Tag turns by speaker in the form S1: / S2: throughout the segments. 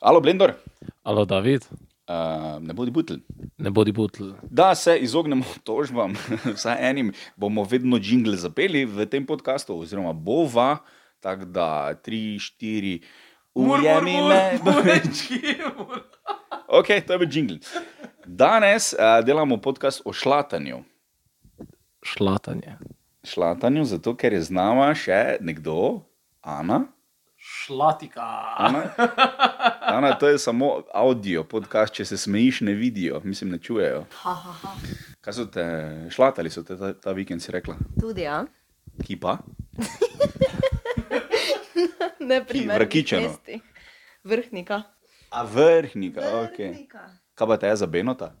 S1: Alo, Blendor,
S2: Alo, David,
S1: uh, ne bodi butl.
S2: ne bodi butl.
S1: Da se izognemo tožbam, vsaj enim, bomo vedno jingle zapeli v tem podkastu, oziroma bova, tako da tri, štiri, ujemi me. ok, to je bil jingle. Danes uh, delamo podkast o šlatanju.
S2: Šlatanje.
S1: Šlatanju, zato ker je z nama še nekdo, Ana.
S2: Šlatika.
S1: Ana, Ana, to je samo audio podcast, če se smejiš, ne vidijo, mislim, ne čujejo.
S3: Ha, ha, ha.
S1: Kaj so te šlatali, so te ta, ta vikend si rekla?
S3: Tudi, ja.
S1: Ki pa?
S3: Ne
S1: Vrakičeno.
S3: Vrhnika.
S1: A vrhnika, ok. Kaj pa te je za Benota?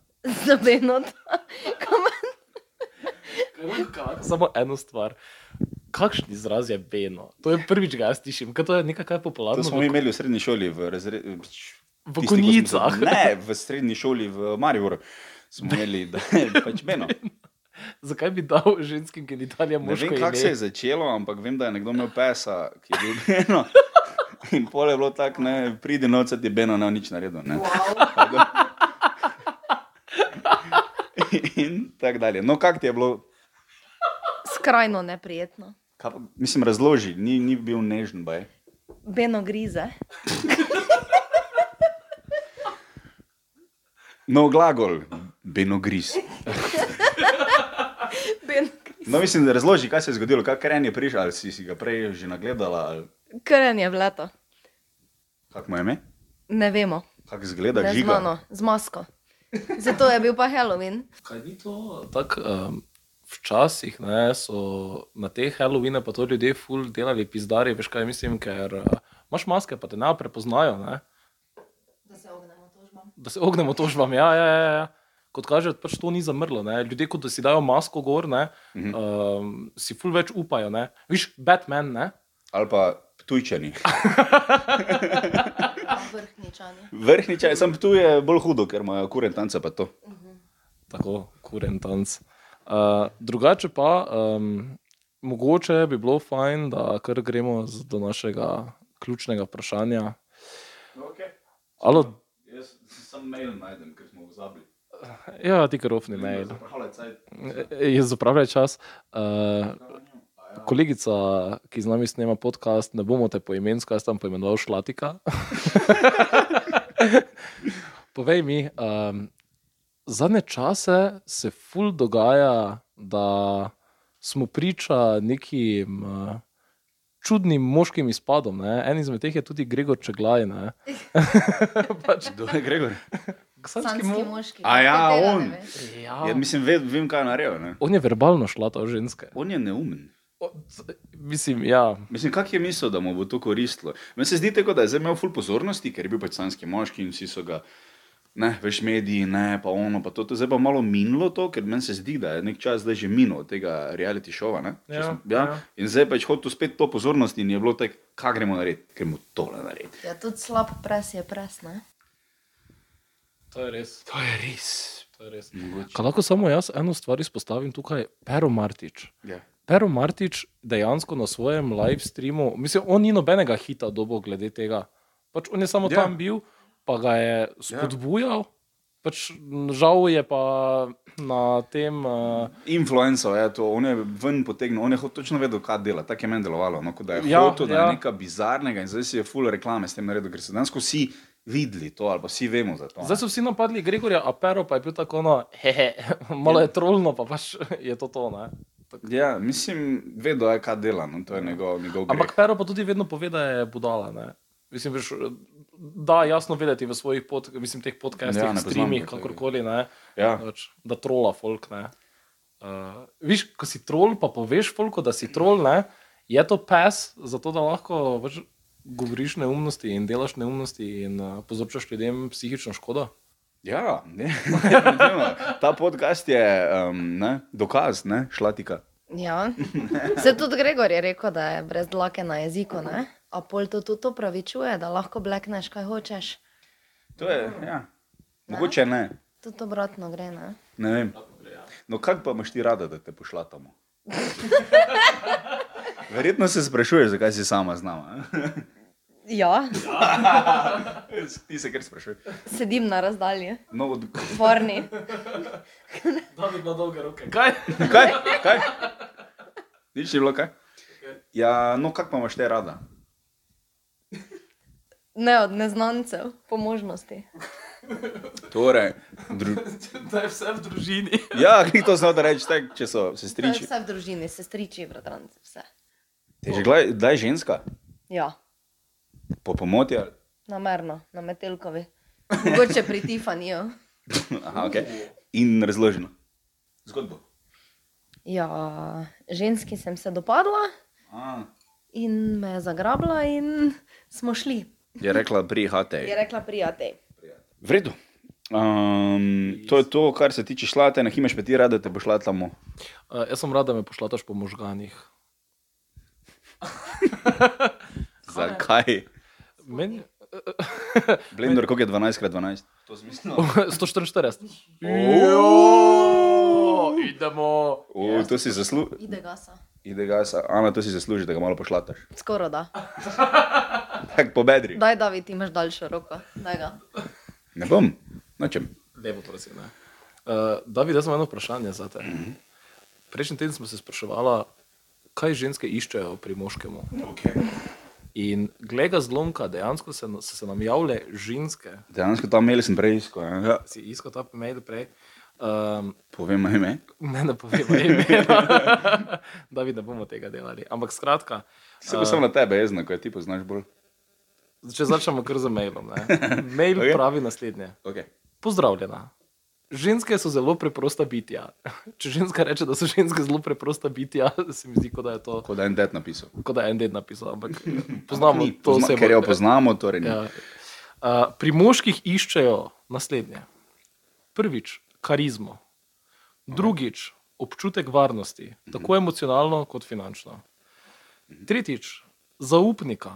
S3: Zabenot.
S2: Samo eno stvar. Kakšen izraz je beno? To je prvič, ga jaz slišim, ker to je nekaj kaj
S1: To
S2: popularno.
S1: smo mi imeli v srednji šoli, v, razre...
S2: V
S1: tisti, ko smo se-
S2: konicah.
S1: Ne, v srednji šoli v Mariboru smo imeli, da je pač Beno.
S2: Zakaj bi dal ženskim genitalijam
S1: Ne
S2: moško
S1: vem, kako se je
S2: ime?
S1: začelo, ampak vem, da je nekdo imel pesa, ki je bil Beno. In pol je bilo tako, ne, pridi noč, ti Beno ne bo nič naredil. Ne. Tako da- In tako dalje. No, kako ti je bilo?
S3: Skrajno neprijetno.
S1: Kaj pa- Mislim, razloži, ni, ni bil nežen. Baj.
S3: Beno grize.
S1: No, glagol, benogris.
S3: Beno grize.
S1: No, mislim, da razloži, kaj se je zgodilo, kaj kren je prišel, ali si, si ga prej že nagledala, ali
S3: Krn je v leto.
S1: kako mu je ime,
S3: Ne vemo.
S1: kako izgleda
S3: Ne z
S1: žiga.
S3: mano, z masko. Zato je bil pa Halloween.
S2: Kaj ni to? Tak, um, včasih ne, so na te Halloweene pa to ljudje ful delali pizdari, veš kaj mislim, ker uh, imaš maske, pa te ne prepoznajo. Ne?
S3: Da se ognemo tožbam.
S2: da se ognemo tožbam. Ja, ja, ja, ja. Kot kaže, pač to ni zamrlo. Ne. Ljudje, kot da si dajo masko gor, ne,
S1: Mhm.
S2: um, si ful več upajo. Ne. Viš, Batman, ne?
S1: Ali pa tujčani.
S3: Vrhničani.
S1: Vrhničani, sem tu je bolj hudo, ker imajo kurentance pa to.
S2: tako kurentanc. Uh, drugače pa, um, mogoče bi bilo fajn, da kar gremo z- do našega ključnega vprašanja.
S1: Okay.
S2: Alo,
S1: Jaz sem mail najdem, ker smo pozabili.
S2: ja, ti krofni mail. Je zapravljaj Eh, čas. Uh, kolegica, ki z nami snema podcast, ne bomo te poimensko, jaz tam poimenoval Šlatika. Povej mi, um, zadnje čase se ful dogaja, da smo priča nekim uh, čudnim moškim izpadom. Ne? En izmed teh je tudi Gregor Čeglaj. ne. pač,
S1: Kdo je Gregor?
S2: sanjski
S3: Sanski
S2: mo-
S3: moški.
S1: A ja,
S3: Tega ne
S1: on.
S3: veš.
S2: Ja.
S1: Ja, mislim, ve, vem, kaj je naredil. Ne?
S2: On je verbalno šlatal ženske.
S1: On je neumen.
S2: O, Mislim, ja.
S1: Mislim, kak je mislil, da mu bo to koristilo? Meni se zdi, tako, da je zdaj imel ful pozornosti, ker je bil pač sanski moški in vsi so ga, ne, veš, mediji, ne, pa ono, pa to, to je zdaj pa malo minilo to, ker meni se zdi, da je nek čas zdaj že minil od tega reality šova, ne? Če
S2: Ja,
S1: sem, ja,
S2: ja.
S1: In zdaj pač hotel spet to pozornost in je bilo tako, kaj gremo narediti, gremo tole narediti.
S3: Ja, tudi slab pres je pres, ne?
S2: To je res.
S1: To je res.
S2: To je res.
S1: Mogoče.
S2: Kaj lahko samo jaz eno stvar izpostavim tukaj, Pero Martič.
S1: Ja.
S2: Pero Martič dejansko na svojem live streamu, mislim, on ni nobenega hita dobo glede tega. Pač on je samo
S1: Ja.
S2: ja. tam bil, pa ga je spodbujal. Pač, m, žal je pa na tem. Uh,
S1: Influencer je to, on je ven potegnil, on je hot- točno vedel, kaj dela, tako je meni delovalo. No, kot da je ja,
S2: Ja,
S1: hotel, da je ja.
S2: ja.
S1: nekaj bizarnega in zdaj si je full reklame s tem naredil, ker so dejansko vsi videli to ali pa vsi vemo za to. no. ne.
S2: zdaj so vsi napadli Gregorja, a Pero pa je bil tako, no, hehe, malo je trolno, pa pač je to to. Ne?
S1: Ja, mislim, vedo je, kaj dela, no, to je njegov, njegov greh.
S2: Ampak Pero pa tudi vedno pove, da je budala. Ne? Mislim, veš, da jasno vedeti v svojih pod, mislim, teh podcastih,
S1: Ja,
S2: ja,
S1: ne
S2: streamih,
S1: poznam ga tega.
S2: kakorkoli, ne,
S1: Ja.
S2: pač, da trola folk. Ne? Uh, viš, ko si trol, pa poveš folko, da si trol, ne? je to pes, zato da lahko pač, govoriš neumnosti in delaš neumnosti in uh, povzročaš ljudem psihično škodo.
S1: Ja, ne, definitivno. ta podcast je um, ne, dokaz, ne, šlatika.
S3: Ja. Se tudi Gregor je rekel, da je brez dlake na jeziku, ne? A pol to tudi opravičuje, da lahko blekneš, kaj hočeš.
S1: To je, ja. Mogoče ne,
S3: Tudi obratno gre, ne?
S1: ne vem. No, kako pa imaš ti rada, da te pošlatamo? Verjetno se sprašuješ, zakaj si sama z nama. eh?
S3: Ja,
S1: Ti se kar sprašuješ.
S3: sedim na razdalji,
S1: No, od...
S3: dvorni.
S2: Da bi bila dolga roka. Kaj?
S1: Kaj? Kaj? Nič ni bilo kaj? Ja, no, kak pa imaš te rada?
S3: Ne od neznancev, po možnosti.
S1: Torej, dru...
S2: Da je vse v družini.
S1: ja, kdo to zna da reči, tak, če so
S3: To je
S1: sestriči.
S3: Vse v družini, sestriči, bratranci, vse.
S1: Je že glej, da je ženska,
S3: Ja,
S1: po pomoti. ali-
S3: namerno, na metelkovi. Mogoče pri Tifaniju.
S1: Aha, okay. In razloženo. Zgodbo.
S3: Ja, ženski sem se dopadla
S1: A,
S3: in me je zagrabila, in smo šli.
S1: je rekla pri HT.
S3: Je rekla prijatelj.
S1: V redu. Um, to je to, kar se tiče šlate, ne himaš pa ti rada, da te bo šla tam.
S2: Uh, jaz sem rada, da me pošlataš po možganjih.
S1: Zakaj?
S2: Meni
S1: Blender, koliko je 12x12?
S2: 144.
S1: Oooo!
S2: Idemo.
S1: O, to si zasluži.
S3: Ide gasa.
S1: Ide ga, Ana, to si zasluži, da ga malo pošlataš.
S3: Skoro da.
S1: Tak po bedri.
S3: Daj, David, imaš daljšo roko. Daj ga.
S1: Ne bom, nočem.
S2: Lepo, prosim. Ne. Uh, David, jaz imam eno vprašanje za te. Prejšnji teden smo se spraševali, kaj ženske iščejo pri moškemu.
S1: Okay.
S2: In glede ga zlomka, dejansko se, na- so se nam javile ženske,
S1: Dejansko tam imeli sem preisko. Ja.
S2: si iskal ta mail prej. Um,
S1: Povem ime.
S2: ne, ne povemo imena. David, ne bomo tega delali. Ampak skratka,
S1: Se bo samo na tebe jezno, ko ti poznaš bolj.
S2: če začnemo kar z mailom. Ne. Mail
S1: Okay.
S2: okay. pravi naslednje.
S1: Okay.
S2: Pozdravljena. Ženske so zelo preprosta bitja. Če ženska reče, da so ženske zelo preprosta bitja, se mi zdi, kot da je to
S1: Kot da je en det napisal.
S2: kot da je en ded napisal. Ampak poznamo
S1: Ni,
S2: to
S1: pozna,
S2: osebo.
S1: ker jo poznamo, torej ni.
S2: Ja. Uh, pri moških iščejo naslednje. Prvič, karizmo. Drugič, občutek varnosti, tako
S1: Mhm.
S2: emocionalno kot finančno. Tretjič, zaupnika.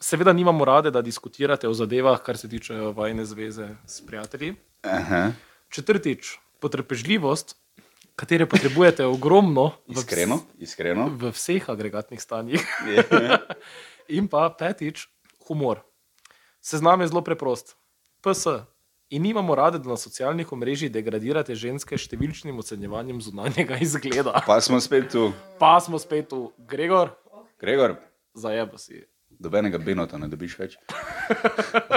S2: Seveda nimamo rade, da diskutirate o zadevah, kar se tiče vajne zveze s prijatelji.
S1: Aha.
S2: Četrtič, potrpežljivost, katere potrebujete ogromno, v vs-
S1: Iskreno, iskreno.
S2: v vseh agregatnih stanjih. In pa petič, humor. Seznam je zelo preprost. PS. In nimamo rade, da na socialnih omrežjih degradirate ženske s številčnim ocenjevanjem zunanjega izgleda.
S1: Pa smo spet tu.
S2: Pa smo spet tu, Gregor,
S1: Gregor,
S2: zajebo si.
S1: dobenega Benota ne dobiš več.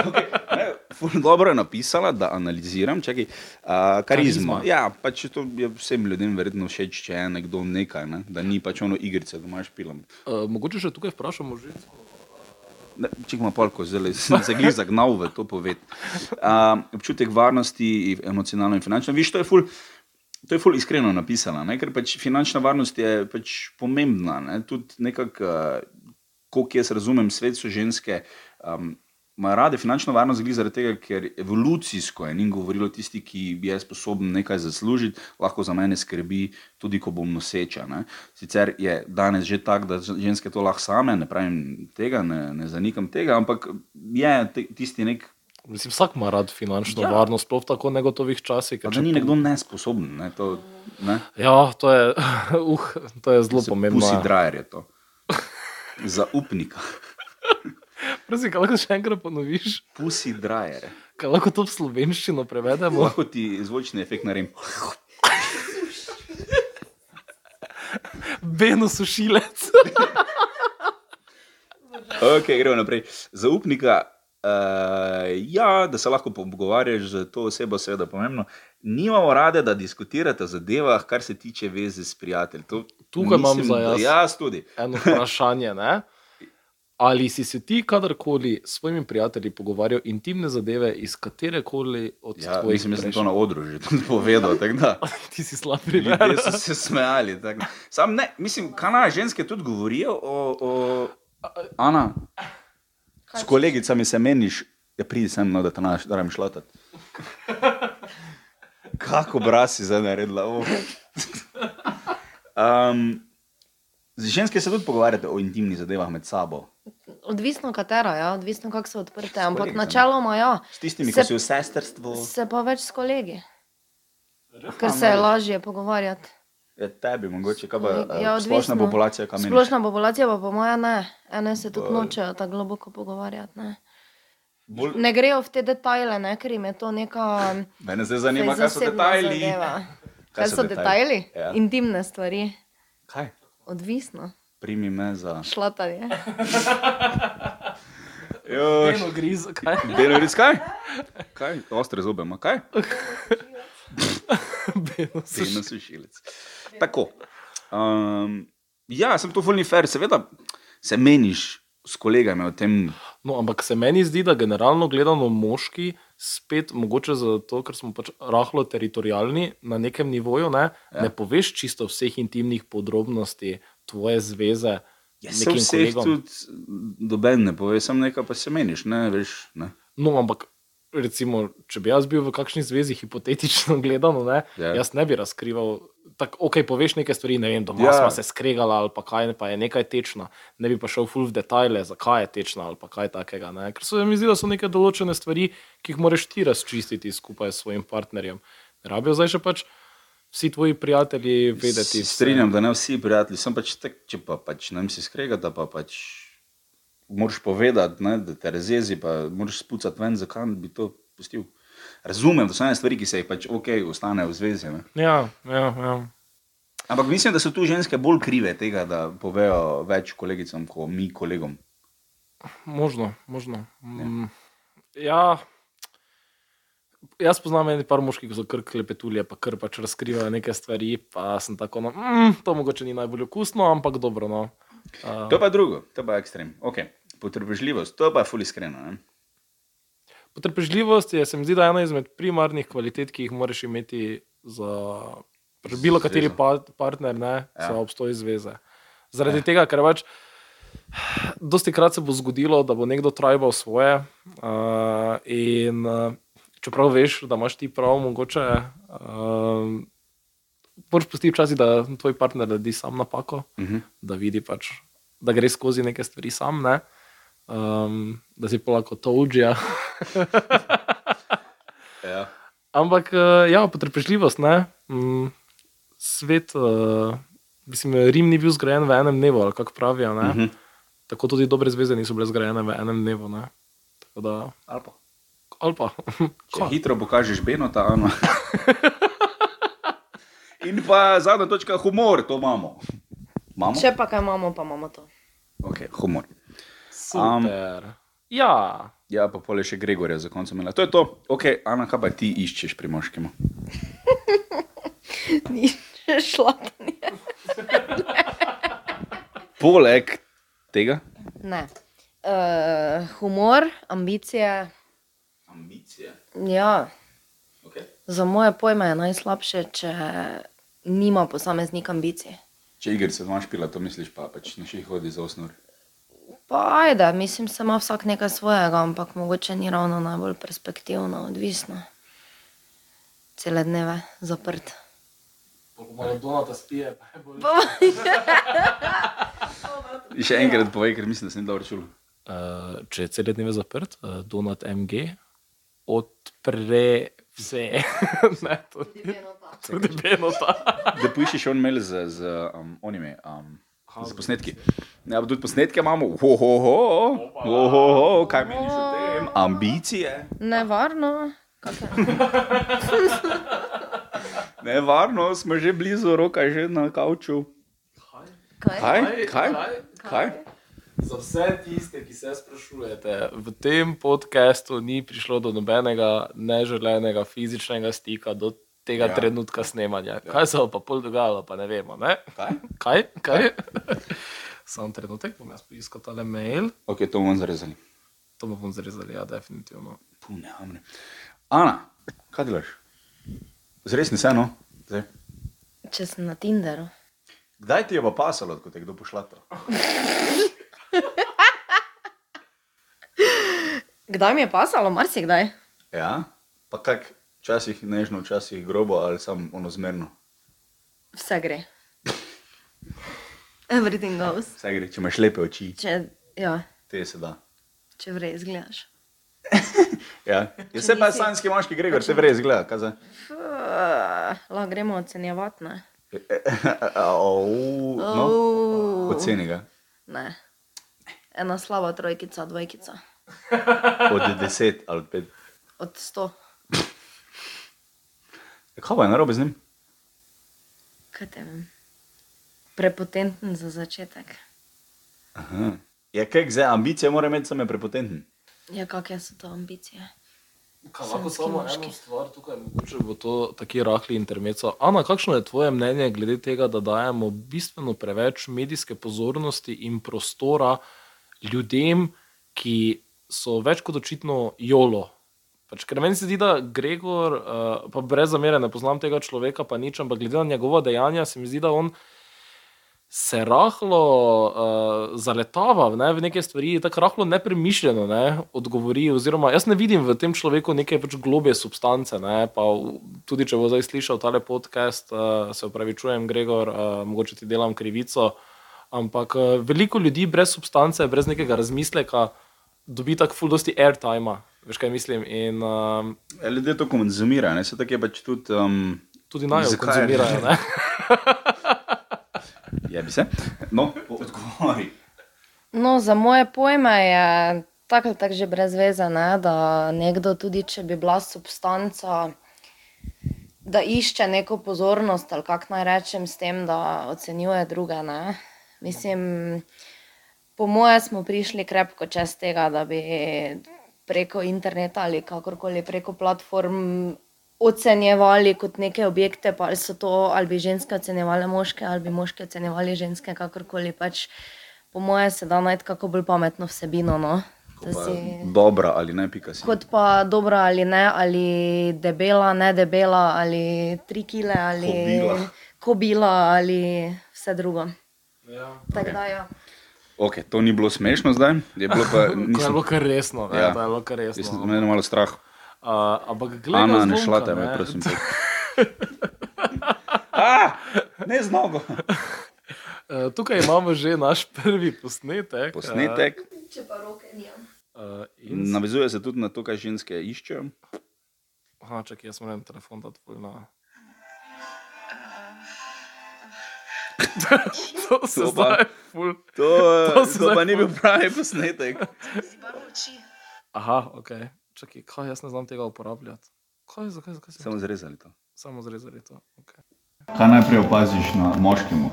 S1: Okay. Ne, ful dobro je napisala, da analiziram, čakaj, a, karizmo.
S2: Karizma.
S1: Ja, pač to je vsem ljudem verjetno všeč, če je nekdo nekaj, ne? da ni pač ono igrice, da imaš pilam.
S2: Uh, mogoče še tukaj vprašamo žensko.
S1: Ne, Če ima palko, zelo sem se glih zagnal v to poved. Um, občutek varnosti, emocionalno in finančno. Viš, to je ful, to je ful iskreno napisano, ne? ker pač finančna varnost je pač pomembna. Ne? Tudi nekako, uh, koliko jaz razumem svet, so ženske. Um, Imajo rade finančno varnost, glede zaradi tega, ker evolucijsko je njim govorilo, tisti, ki je sposoben nekaj zaslužiti, lahko za mene skrbi, tudi ko bom noseča. Ne. Sicer je danes že tako, da ženske to lahko same, ne pravim tega, ne, ne zanikam tega, ampak je te, tisti nek,
S2: Mislim, vsak ima rad finančno
S1: Ja.
S2: ja. varnost, sploh v tako negotovih časih. ker
S1: pa da
S2: če
S1: ni
S2: po-
S1: nekdo nesposoben. Ne, to, ne.
S2: Ja, to je, uh, to je zelo pomembno.
S1: Pusi drajer je to. Zaupnika.
S2: Prosim, kaj lahko še enkrat ponoviš,
S1: Pusi drajer.
S2: kaj lahko to v slovenščino prevedemo.
S1: Lahko ti zvočni efekt naredim.
S2: Beno sušilec.
S1: Ok, gremo naprej. Zaupnika, uh, ja, da se lahko pogovarjaš z to osebo, seveda pomembno. Nimamo rade, da diskutirate o zadevah, kar se tiče veze s prijatelji. To
S2: Tukaj imam
S1: mislim,
S2: za
S1: da
S2: jaz.
S1: Jaz tudi.
S2: Eno vprašanje. Ne? Ali si se ti kadarkoli s svojimi prijatelji pogovarjal intimne zadeve iz katerekoli od
S1: Ja,
S2: tvojih
S1: mislim, da sem to
S2: prejšnjih-
S1: na odru že tudi povedal. tako da.
S2: Ti si slab primer.
S1: Ljudje so se smejali. tako da. Sam ne, mislim, kanal ženske tudi govorijo o. o... Ana,
S3: Kaj
S1: s kolegicami se meniš, ja, pridi sem, no, da te naš, da ramiš latat. Kako brasi zdaj naredila ovo? Um, z ženske se tudi pogovarjate o intimnih zadevah med sabo.
S3: Odvisno katera, ja? odvisno kako so odprte, ampak
S1: kolegicami.
S3: načeloma ja.
S1: S tistimi,
S3: Se-
S1: ki so v sestrstvu.
S3: Se pa več s kolegi, ker se je lažje pogovarjati.
S1: Je ja, tebi mogoče, kaj pa
S3: Ja,
S1: ja, splošna
S3: odvisno.
S1: populacija, kam meni.
S3: Splošna populacija pa po mojem ne. Ene se tudi nočejo tako globoko pogovarjati. Ne.
S1: Bolj...
S3: ne grejo v te detajle, ne, ker jim je to neka.
S1: Mene zdaj zanima, kaj so
S3: zasebna
S1: detajli.
S3: zadeva. Kaj so detajli?
S1: Ja.
S3: Intimne stvari.
S1: Kaj?
S3: Odvisno.
S1: Primi me za.
S3: Šlatanje.
S1: Jož.
S2: Eno griz, kaj?
S1: Belo res kaj? Kaj? Ostre zobe, ma kaj?
S2: Beno se
S1: Sejno sušilec. Tako. Um, ja, sem to fulni fair, seveda se meniš s kolegami o tem.
S2: No, ampak se meni zdi, da generalno gledano moški, spet mogoče zato, ker smo pač rahlo teritorijalni na nekem nivoju, ne, ja. ne poveš čisto vseh intimnih podrobnosti tvoje zveze.
S1: Ja, se
S2: nekim
S1: vseh
S2: kolegom.
S1: tudi doben ne pove, sem nekaj pa se meniš, ne veš. Ne?
S2: No, ampak recimo, če bi jaz bil v kakšni zvezi, hipotetično gledano, ne,
S1: Ja.
S2: yeah. jaz ne bi razkrival. Tako, ok, poveš nekaj stvari, ne vem, doma
S1: Ja.
S2: yeah. smo se skregala ali pa kaj, pa je nekaj tečno, ne bi pa šel full v detajle, zakaj je tečno ali pa kaj takega. Ne. Ker se mi zdi, da so neke določene stvari, ki jih moraš ti razčistiti skupaj s svojim partnerjem. Ne rabijo zdaj še pač vsi tvoji prijatelji vedeti.
S1: Se Strinjam, da ne vsi prijatelji, sem pač tek, če pa pač ne si skregata, pa pač moraš povedati, ne, da te rezezi, pa moraš spucati ven, zakaj bi to pustil. Razumem, da so ene stvari, ki se jih pač ok, ostanejo v zvezi. Ne.
S2: Ja, ja, ja.
S1: Ampak mislim, da so tu ženske bolj krive tega, da povejo več kolegicam, kot mi kolegom.
S2: Možno, možno. Mm, ja. Jaz poznam eno par moških, ki so kar klepetulje, pa kar pač razkrivajo neke stvari. Pa sem tako, no, mm, to mogoče ni najbolj okusno, ampak dobro. No. Uh,
S1: To je pa drugo, to je pa ekstrem. Okay. Potrpežljivost, to je pa fully iskreno. ne.
S2: potrpežljivost je, se mi zdi, da ena izmed primarnih kvalitet, ki jih moraš imeti za pač bilo
S1: Zvezo.
S2: kateri pa, partner, ne,
S1: Ja.
S2: ja. za obstoj zveze. Zaradi ja. tega, ker pač. Dosti krat se bo zgodilo, da bo nekdo trajal svoje. Uh, in uh, čeprav veš, da imaš ti prav, mogoče uh, moraš pustiti včasih, da tvoj partner naredi sam napako, uh -huh. da vidi pač, da gre skozi neke stvari sam, ne? um, da si polako to uđija.
S1: Ja.
S2: Ampak eh, ja, potrpežljivost, ne. Mm, Svet, eh, mislim, Rim ni bil zgrajen v enem dnevu, ali kako pravijo.
S1: Mhm.
S2: Ne? Uh -huh. Tako tudi dobre zveze niso bile zgrajene v enem dnevu. Ne? Tako da,
S1: Ali pa,
S2: ali pa.
S1: Če
S2: Ko?
S1: hitro pokažeš Benota, Ana. In pa zadnja točka, humor, to imamo. Imamo?
S3: Če pa kaj imamo, pa imamo to.
S1: Okay, humor.
S2: Super. Um, ja,
S1: Ja, pa pole še Gregorja za koncem. imela. To je to. Ok, Ana, kaj pa ti iščeš pri moškem?
S3: Ni šlatanje.
S1: Poleg tega.
S3: Ne. Uh, humor, ambicije.
S1: Ambicije.
S3: Ja,
S1: Okay.
S3: za moje pojme je najslabše, če nima posameznik ambicij.
S1: Če igrice doma špila, to misliš pa pač ne še hodi za osnor.
S3: Pa ajde, mislim, se ima vsak nekaj svojega, ampak mogoče ni ravno najbolj perspektivno, odvisno. Cele dneve zaprt.
S2: malo donata spije.
S1: Še enkrat povej, ker mislim, da sem dobro čul.
S2: Uh, če je cele dneve zaprt, uh, donat MG odpre vse. ne, to, tudi benota.
S1: Da poiščeš on mail z, z um, onimi. Um, Z posnetki. Ne, ampak tudi posnetke imamo, ohoho, ohoho, kaj meniš o tem? Ambicije,
S3: Nevarno.
S1: nevarno, smo že blizu roka, že na kavču. Kaj?
S3: Kaj?
S1: Kaj? Kaj?
S2: Za vse tiste, ki se sprašujete, v tem podkastu ni prišlo do nobenega neželenega fizičnega stika do tega
S1: Ja.
S2: ja. trenutka snemanja. Ja. Kaj se bo pa pol dogajalo, pa ne vemo. Ne?
S1: Kaj? Ja.
S2: Kaj? Kaj? Sam trenutek bom jaz poiskal tale mail,
S1: Ok, to bomo zarezali.
S2: to bomo zrezali, ja, definitivno.
S1: Pune, amne. Ana, kaj delaš? Zresni se, no? Zdaj.
S3: Če sem na Tinderu.
S1: Kdaj ti je pa pasalo, ko te je kdo pošla to?
S3: Kdaj mi je pasalo, marsikdaj.
S1: Ja, pa kak, včasih nežno, včasih grobo ali samo ono zmerno.
S3: Vse gre. Everything goes.
S1: Vse gre, če imaš lepe oči,
S3: Če, ja,
S1: te se da.
S3: če vrej izgledaš.
S1: Ja, ja se pa sanski moški Gregor, se vrej zgleda, kaj za.
S3: Fuh, Lahko gremo ocenjevati. Ne?
S1: Au, no,
S3: Au.
S1: Oceni ga.
S3: Ne. Ena slaba trojkica, dvojkica.
S1: Od 10 ali 5.
S3: Od sto.
S1: Ja, Kaj pa je narobe z njim?
S3: Kaj te vem? Prepotenten za začetek.
S1: Aha. Ja, kaj za ambicije mora imeti, sem je prepotenten.
S3: Ja, kakšne so to ambicije?
S2: Kaj lahko
S3: Ženski,
S2: samo
S3: moški.
S2: eno stvar tukaj, mogoče bo to taki rahli intermeco. Ana, kakšno je tvoje mnenje glede tega, da dajemo bistveno preveč medijske pozornosti in prostora ljudem, ki so več kot očitno jolo? Pač, ker meni se zdi, da Gregor, uh, pa brez zamere, ne poznam tega človeka, pa nič, ampak glede na njegova dejanja, se mi zdi, da on se rahlo uh, zaletava ne, v neke stvari, tako rahlo nepremišljeno ne, odgovori. Oziroma, jaz ne vidim v tem človeku neke pač globje substance. Ne, pa v- tudi če bo zdaj slišal tale podcast, uh, se upravičujem, Gregor, uh, mogoče ti delam krivico. Ampak uh, veliko ljudi brez substance, brez nekega razmisleka, dobi tako fuldošti airtime. Veš, kaj mislim. In um,
S1: Ja, Ljudje to konzumirajo, ne se tako je pač tudi. Um,
S2: tudi naj jo
S1: Zakaj?
S2: konzumirajo. ne.
S1: je bi se. No, po- odgovori.
S3: No, za moje pojme je tako ali tako že brez veze, ne? da nekdo, tudi če bi bila substanca, da išče neko pozornost ali kako naj rečem, s tem, da ocenjuje druge. Ne? Mislim, po moje smo prišli krepko čez tega, da bi preko interneta ali kakorkoli preko platform. Ocenjevali kot neke objekte, pa ali so to, ali bi ženske ocenjevali moške, ali bi moški ocenjevali ženske, kakorkoli pač. Po mojem, se da najti kako bolj pametno vsebino. No? Da
S1: Pa,
S3: si-
S1: dobra ali ne, pika si.
S3: Kot pa dobra ali ne, ali debela, ne debela, ali tri kile, ali
S1: Kobila.
S3: kobila, ali vse drugo.
S2: Ja.
S3: Tako da, ja.
S1: Ok, to ni bilo smešno zdaj, je bilo pa.
S2: To je
S1: Nisem,
S2: bilo kar resno. Ne,
S1: Ja.
S2: to je bilo kar
S1: jaz
S2: resno.
S1: sem imel malo strah.
S2: Uh, ampak gledaj,
S1: Ana, ne šlate me, prosim. te. A, ne z nogo.
S2: Uh, tukaj imamo že naš prvi posnetek. eh,
S1: Posnetek
S3: Če pa roke nimam.
S2: Uh, in...
S1: navezuje se tudi na to, kaj ženske iščejo.
S2: Aha, čakaj, jaz moram telefon dati no. pol na. to se
S1: To pa-
S2: zdaj ful.
S1: To, eh,
S2: To se
S1: to
S2: zdaj
S1: pa ni bil
S2: ful-
S1: pravi posnetek.
S2: Aha, ok. Čakaj, kaj jaz ne znam tega uporabljati. Kaj, zakaj, zakaj sem?
S1: Samo zrezali to.
S2: Samo zrezali to. Okay.
S1: Kaj najprej opaziš na moškem?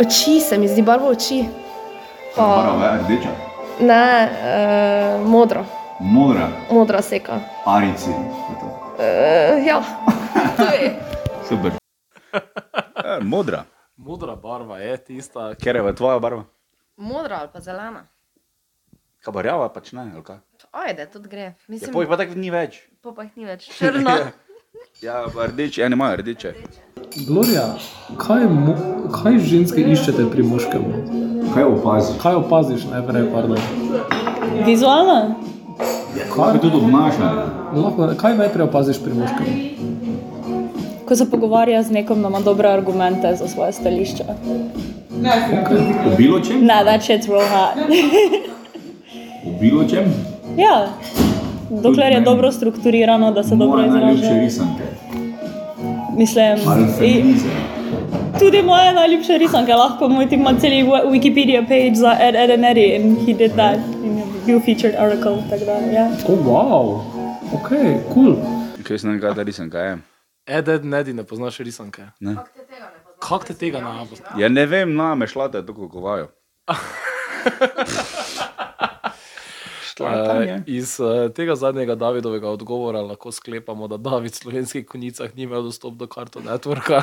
S4: Oči, se mi zdi barvo oči. Pa,
S1: eh, rdeča,
S4: ne,
S3: eh,
S4: e, modro,
S1: modra,
S4: modra seka.
S1: arici.
S3: Eh,
S4: E, ja, to je.
S1: Super. E, modra,
S2: Modra barva je tista, ki
S1: ker je tvoja barva.
S3: Modra ali pa zelena.
S1: Kaj pa rjava, pač ne, ali kaj?
S3: Ajde, tudi gre.
S1: Ja,
S3: Mislim,
S1: poj, pa tako ni več.
S3: po pa jih ni več. Črna.
S1: Ja, pa rdeče, ja, ne imajo rdeče.
S2: Gloria, kaj, mo kaj ženske iščete pri moškem?
S1: Kaj opaziš?
S2: Kaj opaziš najprej? Pardon?
S5: Vizualno?
S1: Kaj bi tudi obnašal?
S2: No, Lahko, kaj najprej opaziš pri moškem?
S5: Ko se pogovarja z nekom, da ima dobre argumente za svoje stališče.
S1: Obilo čem?
S5: Ne, da če je zelo hard.
S1: Obilo čem?
S5: ja, dokler je
S1: meni.
S5: dobro strukturirano, da se dobro izraža.
S1: risanke.
S5: Mislim, i-
S1: E.
S5: tudi moje najljubše risanke, lahko moj tim ima celi wa- Wikipedia page za Ed Ed and Eddie in he did that in je bil featured article, tako da, ja.
S2: Oh, wow, ok, kul. Cool.
S1: Kaj sem nekaj ta risanka je?
S2: Eden, nedi, ne poznaš risanke.
S1: Ne.
S2: Kako te tega ne poznaš?
S1: Ja, ne vem, na me šlate, tako kovajo.
S2: Uh, iz uh, tega zadnjega Davidovega odgovora lahko sklepamo, da David v slovenskih konicah ni imel dostop do karto networka.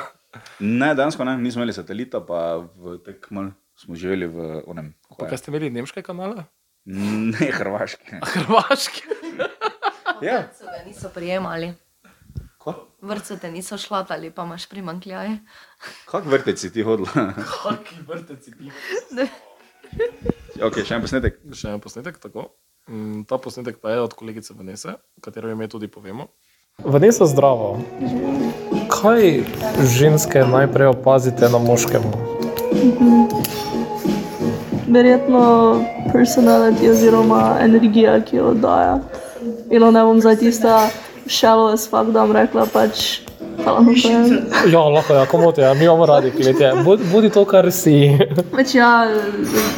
S1: Ne, dansko ne, nismo imeli satelita, pa v tekmel smo živeli v onem.
S2: Pa kaj ste imeli nemške kanale?
S1: Ne, hrvaški.
S2: Hrvaške.
S1: Ja.
S3: So ga niso prijemali.
S1: Ko?
S3: Vrtce te niso šlatali, pa imaš primankljaje.
S1: Kak vrtec si ti hodila?
S2: Kaki vrteci ti.
S1: ok, še en posnetek.
S2: Še en posnetek, tako. Mm, Ta posnetek pa je od kolegice Vanese, katero ime tudi povemo.
S6: Vanessa, zdravo. Kaj ženske najprej opazite na moškem?
S7: verjetno personaliteti oziroma energija, ki jo daje. In ne bom zdaj tista šalo, as fuck, da bom rekla pač Hvala, Mišice.
S6: Ja, lahko, ja, komu te, mi imamo radi kletje. Budi, budi to, kar si.
S7: Več ja,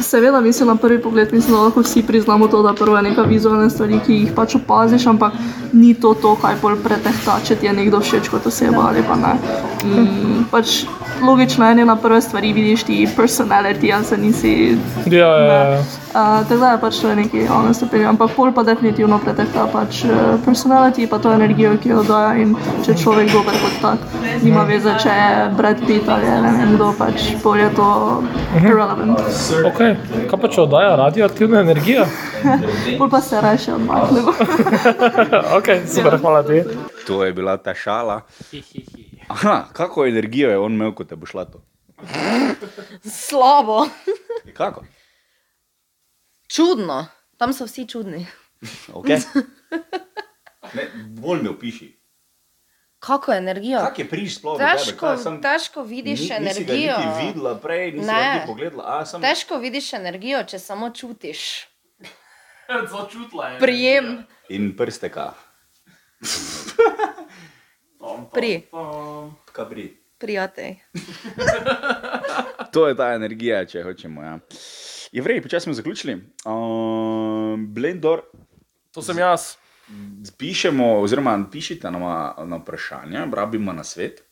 S7: seveda mislim na prvi pogled, mislim, da lahko vsi priznamo to, da prvo je neka vizualna stvar, ki jih pač opaziš, ampak ni to to, kaj bolj pretehta, če ti je nekdo všeč kot oseba ali pa ne. Mm, pač logično je, da na prve stvari vidiš ti personality, a se nisi.
S6: Ja, ja, ja.
S7: Uh, tako da je pač to je neki ono stopil, ampak pol pa definitivno pretehta pač eh, personality, pa to energijo, ki jo daja in če je človek dober kot tak, nima veze, če je Brad Pitt ali je ne vem kdo, pač bolj je to relevant.
S6: Ok, kaj pa če oddaja radioaktivna energija?
S7: Pol pa se raje odmaknemo.
S6: Ok, super, hvala ti.
S1: To je bila ta šala. Aha, kako energijo je on imel, ko te bo šla to?
S3: Slabo.
S1: Kako?
S3: Čudno. Tam so vsi čudni.
S1: Okay. Ne, bolj me opiši.
S3: Kako je energija?
S1: Kak je priš sploh? do tebe?
S3: Ja. Težko,
S1: Kaj, sam-
S3: težko vidiš
S1: ni- nisi ga
S3: energijo.
S1: Nisi videla prej, nisi
S3: Ne.
S1: ga niti pogledala. A, sam...
S3: Težko vidiš energijo, če samo
S1: Ja,
S3: čutiš. Prijem,
S1: In prsteka.
S3: pri,
S1: Kabri.
S3: prijatelj.
S1: To je ta energija, če hočemo. Ja. Je vrej, počasi smo zaključili. Um, Blendor,
S2: To sem jaz.
S1: pišemo, oziroma pišite nama na vprašanja, rabimo na svet.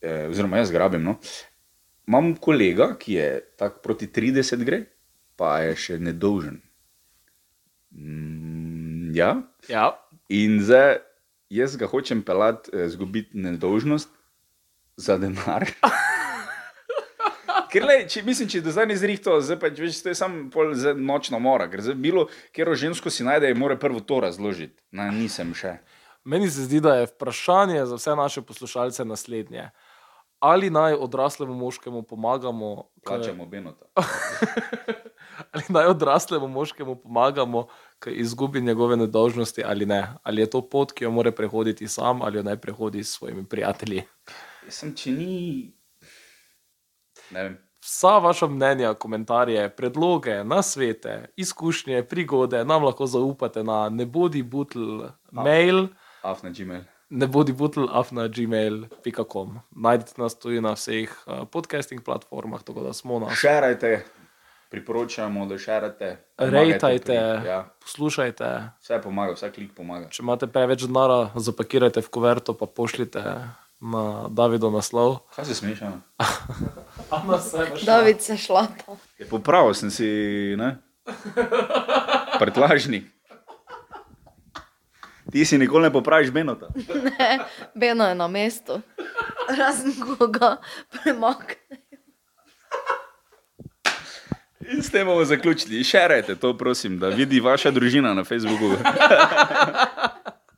S1: E, oziroma, jaz grabim. No. Imam kolega, ki je tako proti 30 gre, pa je še nedolžen. Mm, ja,
S2: Ja.
S1: in zdaj jaz ga hočem pelati, izgubiti nedolžnost za denar. Ker, le, če, mislim, če do zdaj ni zrihto, zdaj pač veš, to je samo pol zdaj nočna mora, ker zdaj bilo, kjer žensko si najde, je mora prvo to razložiti. Na, nisem še.
S2: Meni se zdi, da je vprašanje za vse naše poslušalce naslednje. Ali naj odraslemu moškemu pomagamo, k-
S1: Plačamo benota.
S2: ali naj odraslemu moškemu pomagamo, ki izgubi njegove nedožnosti, ali ne. Ali je to pot, ki jo mora prehoditi sam, ali jo naj prehodi s svojimi prijatelji.
S1: Sem, če ni. Ne vem.
S2: Vsa vaša mnenja, komentarje, predloge, nasvete, izkušnje, prigode nam lahko zaupate na nebodibutl mail.
S1: Af na Gmail.
S2: ne bodi butl, afna gmail.com. Najdete nas tudi na vseh uh, podcasting platformah, tako da smo na
S1: Šerajte, priporočamo, da šerajte. pomagajte
S2: Rejtajte,
S1: pri- Ja,
S2: poslušajte.
S1: vse pomaga, vsak klik pomaga.
S2: Če imate preveč denara, zapakirajte v kuverto, pa pošljite na Davido naslov.
S1: Kaj se smešano?
S3: David se šla.
S1: Je popravil sem si, ne? Prtlažnik. Ti si nikoli ne popraviš benota.
S3: Beno je na mestu. Razen koga premakne.
S1: In s tem bomo zaključili. Šerajte to, prosim, da vidi vaša družina na Facebooku.